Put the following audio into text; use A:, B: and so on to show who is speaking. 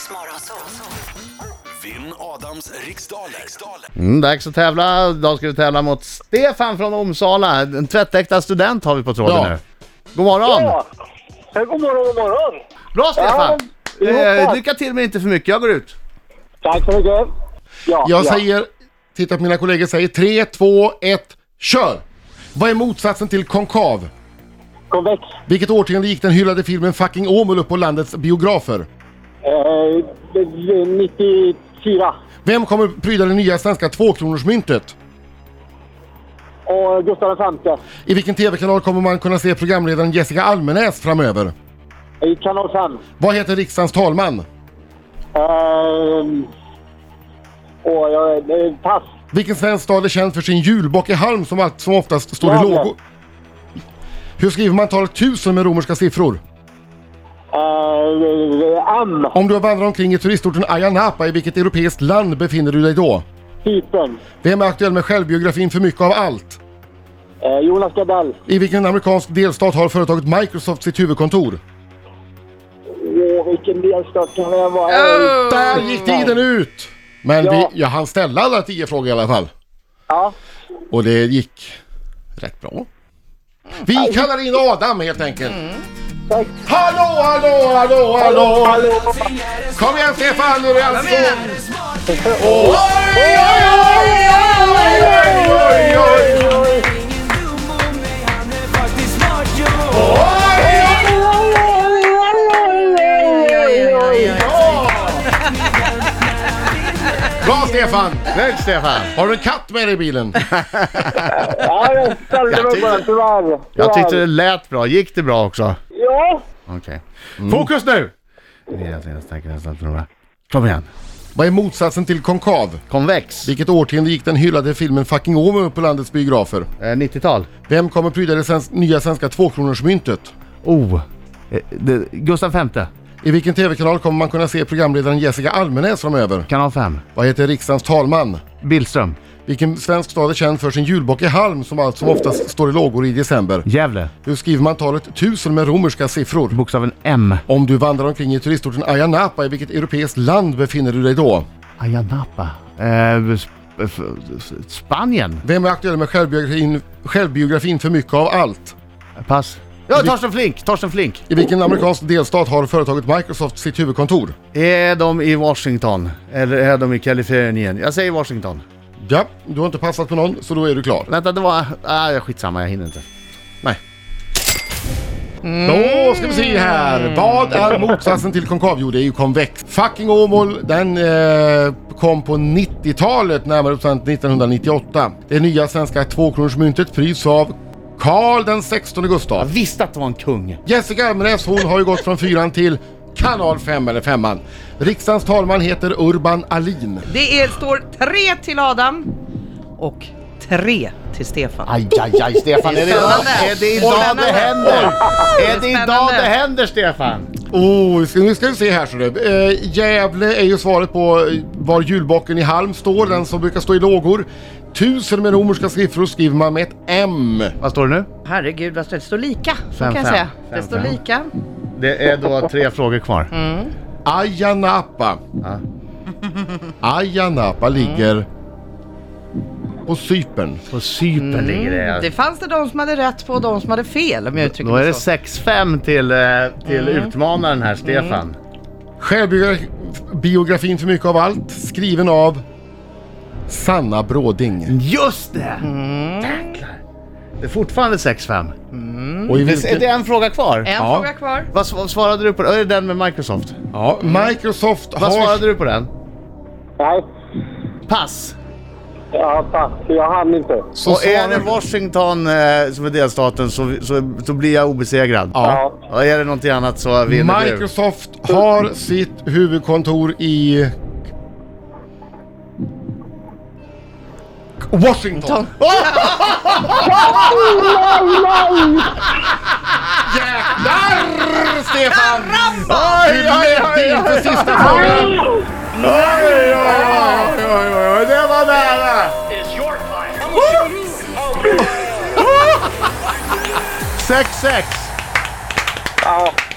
A: Riksmorgon så.
B: Vinn Adams riksdaler. riksdaler.
C: Mm, dags att tävla. Idag ska vi tävla mot Stefan från Omsala. En tvättäkta student har vi på tråden
D: Ja.
C: nu. God morgon!
E: Ja. Ja, God morgon, god morgon.
C: Bra Stefan!
E: Ja,
C: eh,
E: tack.
C: lycka till men inte för mycket, jag går ut.
E: Tack så mycket. Ja,
D: Jag säger, titta på mina kollegor säger 3, 2, 1, kör! Vad är motsatsen till konkav?
E: Konvex.
D: Vilket årtionde gick den hyllade filmen Fucking Åmål upp på landets biografer?
E: Eh, det- det- 94.
D: Vem kommer pryda det nya svenska tvåkronorsmyntet?
E: Och Gustav V.
D: I vilken TV-kanal kommer man kunna se programledaren Jessica Almenäs framöver?
E: I kanal 5.
D: Vad heter riksdagens talman?
E: Ehm, och jag, eh, pass.
D: Vilken svensk stad är känd för sin julbock i halm som, allt, som oftast står i
E: Gävle.
D: lågor? Hur skriver man talet 1000 med romerska siffror?
E: Eh, Am.
D: Om du vandrar omkring i turistorten Ayia Napa, i vilket europeiskt land befinner du dig då?
E: Cypern.
D: Vem är aktuell med självbiografin För mycket av allt?
E: Eh, Jonas Gardell.
D: I vilken amerikansk delstat har företaget Microsoft sitt huvudkontor?
E: Åh, vilken delstat kan det vara?
D: Oh! Där gick tiden ut! Men
E: Oh! Ja.
D: vi, jag hann ställa alla tio frågor i alla fall.
E: Ja.
D: Och det gick rätt bra. Vi kallar in Adam helt enkelt.
E: Tack.
D: Hallå, hallå, hallå, hallå! Kom igen Stefan, nu är det alltså... Oj, oj, oj, oj, oj, oj, oj! Bra Stefan!
C: Snyggt Stefan!
D: Har du en katt med dig i bilen?
E: Ja, jag ställde mig bara, tyvärr.
C: Jag tyckte
E: Tyvärr.
C: det lät bra. Gick det bra också?
E: Ja.
C: Okej. Mm. Fokus nu! Det är alltså en stark känsla att förlora. Kom igen.
D: Vad är motsatsen till konkav?
C: Konvex.
D: Vilket årtionde gick den hyllade filmen Fucking Åmål upp på landets biografer?
C: Eh, 90-tal.
D: Vem kommer pryda det svensk- nya svenska tvåkronorsmyntet?
C: Oh. Eh, det, Gustav V.
D: I vilken TV-kanal kommer man kunna se programledaren Jessica Almenäs framöver?
C: Kanal 5.
D: Vad heter riksdagens talman?
C: Billström.
D: Vilken svensk stad är känd för sin julbock i halm som allt som oftast står i lågor i december?
C: Gävle.
D: Hur skriver man talet 1000 med romerska siffror?
C: Bokstaven M.
D: Om du vandrar omkring i turistorten Ayia Napa, i vilket europeiskt land befinner du dig då?
C: Ayia Napa. Eh, sp f- s- Spanien.
D: Vem är aktuell med självbiografin, självbiografin för mycket av allt?
C: Pass. Ja, Torsten Flink. Torsten Flink.
D: I vilken amerikansk delstat har företaget Microsoft sitt huvudkontor?
C: Är de i Washington? Eller är de i Kalifornien? Jag säger Washington.
D: Ja, du har inte passat på någon, så då är du klar.
C: Vänta, det var... Ah, skitsamma, jag hinner inte.
D: Nej. Då ska vi se här. Vad är motsatsen till konkav? Jo, det är ju konvex. Fucking Åmål, den eh, kom på 90-talet, närmare bestämt 1998. Det nya svenska tvåkronorsmyntet pryds av Karl den 16
C: Jag
D: Gustav.
C: visste att det var en kung.
D: Jessica Almenäs, hon har ju gått från fyran till kanal 5 eller femman. Riksdagens talman heter Urban Alin.
F: Det är, står 3 till Adam och 3 till Stefan.
C: Aj, aj, aj, Stefan. Är det,
F: Spännande.
C: är det idag det
F: Spännande.
C: händer? Är det idag
F: Spännande.
C: det händer, Stefan?
D: Oh, ska- nu ska vi se här så du. Eh, Gävle är ju svaret på eh, var julbocken i Halm står, den som brukar stå i lågor. Tusen med romerska siffror skriver man med ett M.
C: Vad står det nu?
F: Herregud vad snällt. det står lika. Så
C: Fem,
F: kan jag
C: fem.
F: säga.
C: Fem,
F: det står
C: fem.
F: lika.
C: Det är då tre frågor kvar.
F: Mm.
D: Ayia Napa.
C: Ja. Ah.
D: Ayia Napa ligger på Cypern.
C: På Cypern ligger Mm, det.
F: Det fanns det de som hade rätt på och de som hade fel om jag uttrycker
C: Då är
F: mig
C: det
F: så. Mm.
C: 6-5 till, eh, till utmanaren här, Stefan.
D: Självbiografin för mycket av allt skriven av Sanna Bråding.
C: Just det! Jäklar. Det är fortfarande 6-5.
D: Och i
C: Mm. Är
D: vilken...
C: det en fråga kvar?
F: En
D: Ja.
F: fråga kvar.
C: Vad sv- svarade du på den? Är det den med Microsoft?
D: Ja, Microsoft
C: Vad
D: har...
C: svarade du på den?
E: Nej.
C: Pass!
E: Ja, pass. Jag hann inte.
D: Så
C: och är
D: svarar-
C: det Washington eh, som är delstaten så, så, så blir jag obesegrad.
D: Ja.
C: Och är det någonting annat så vinner du.
D: Microsoft har sitt huvudkontor i... Washington! Ah! Jävlar Stefan! Ah, Du
C: Oj, oj,
D: ledde
C: oj,
D: in
C: oj,
D: för sista frågan.
C: oj, det var nära! 6-6!
E: Ja,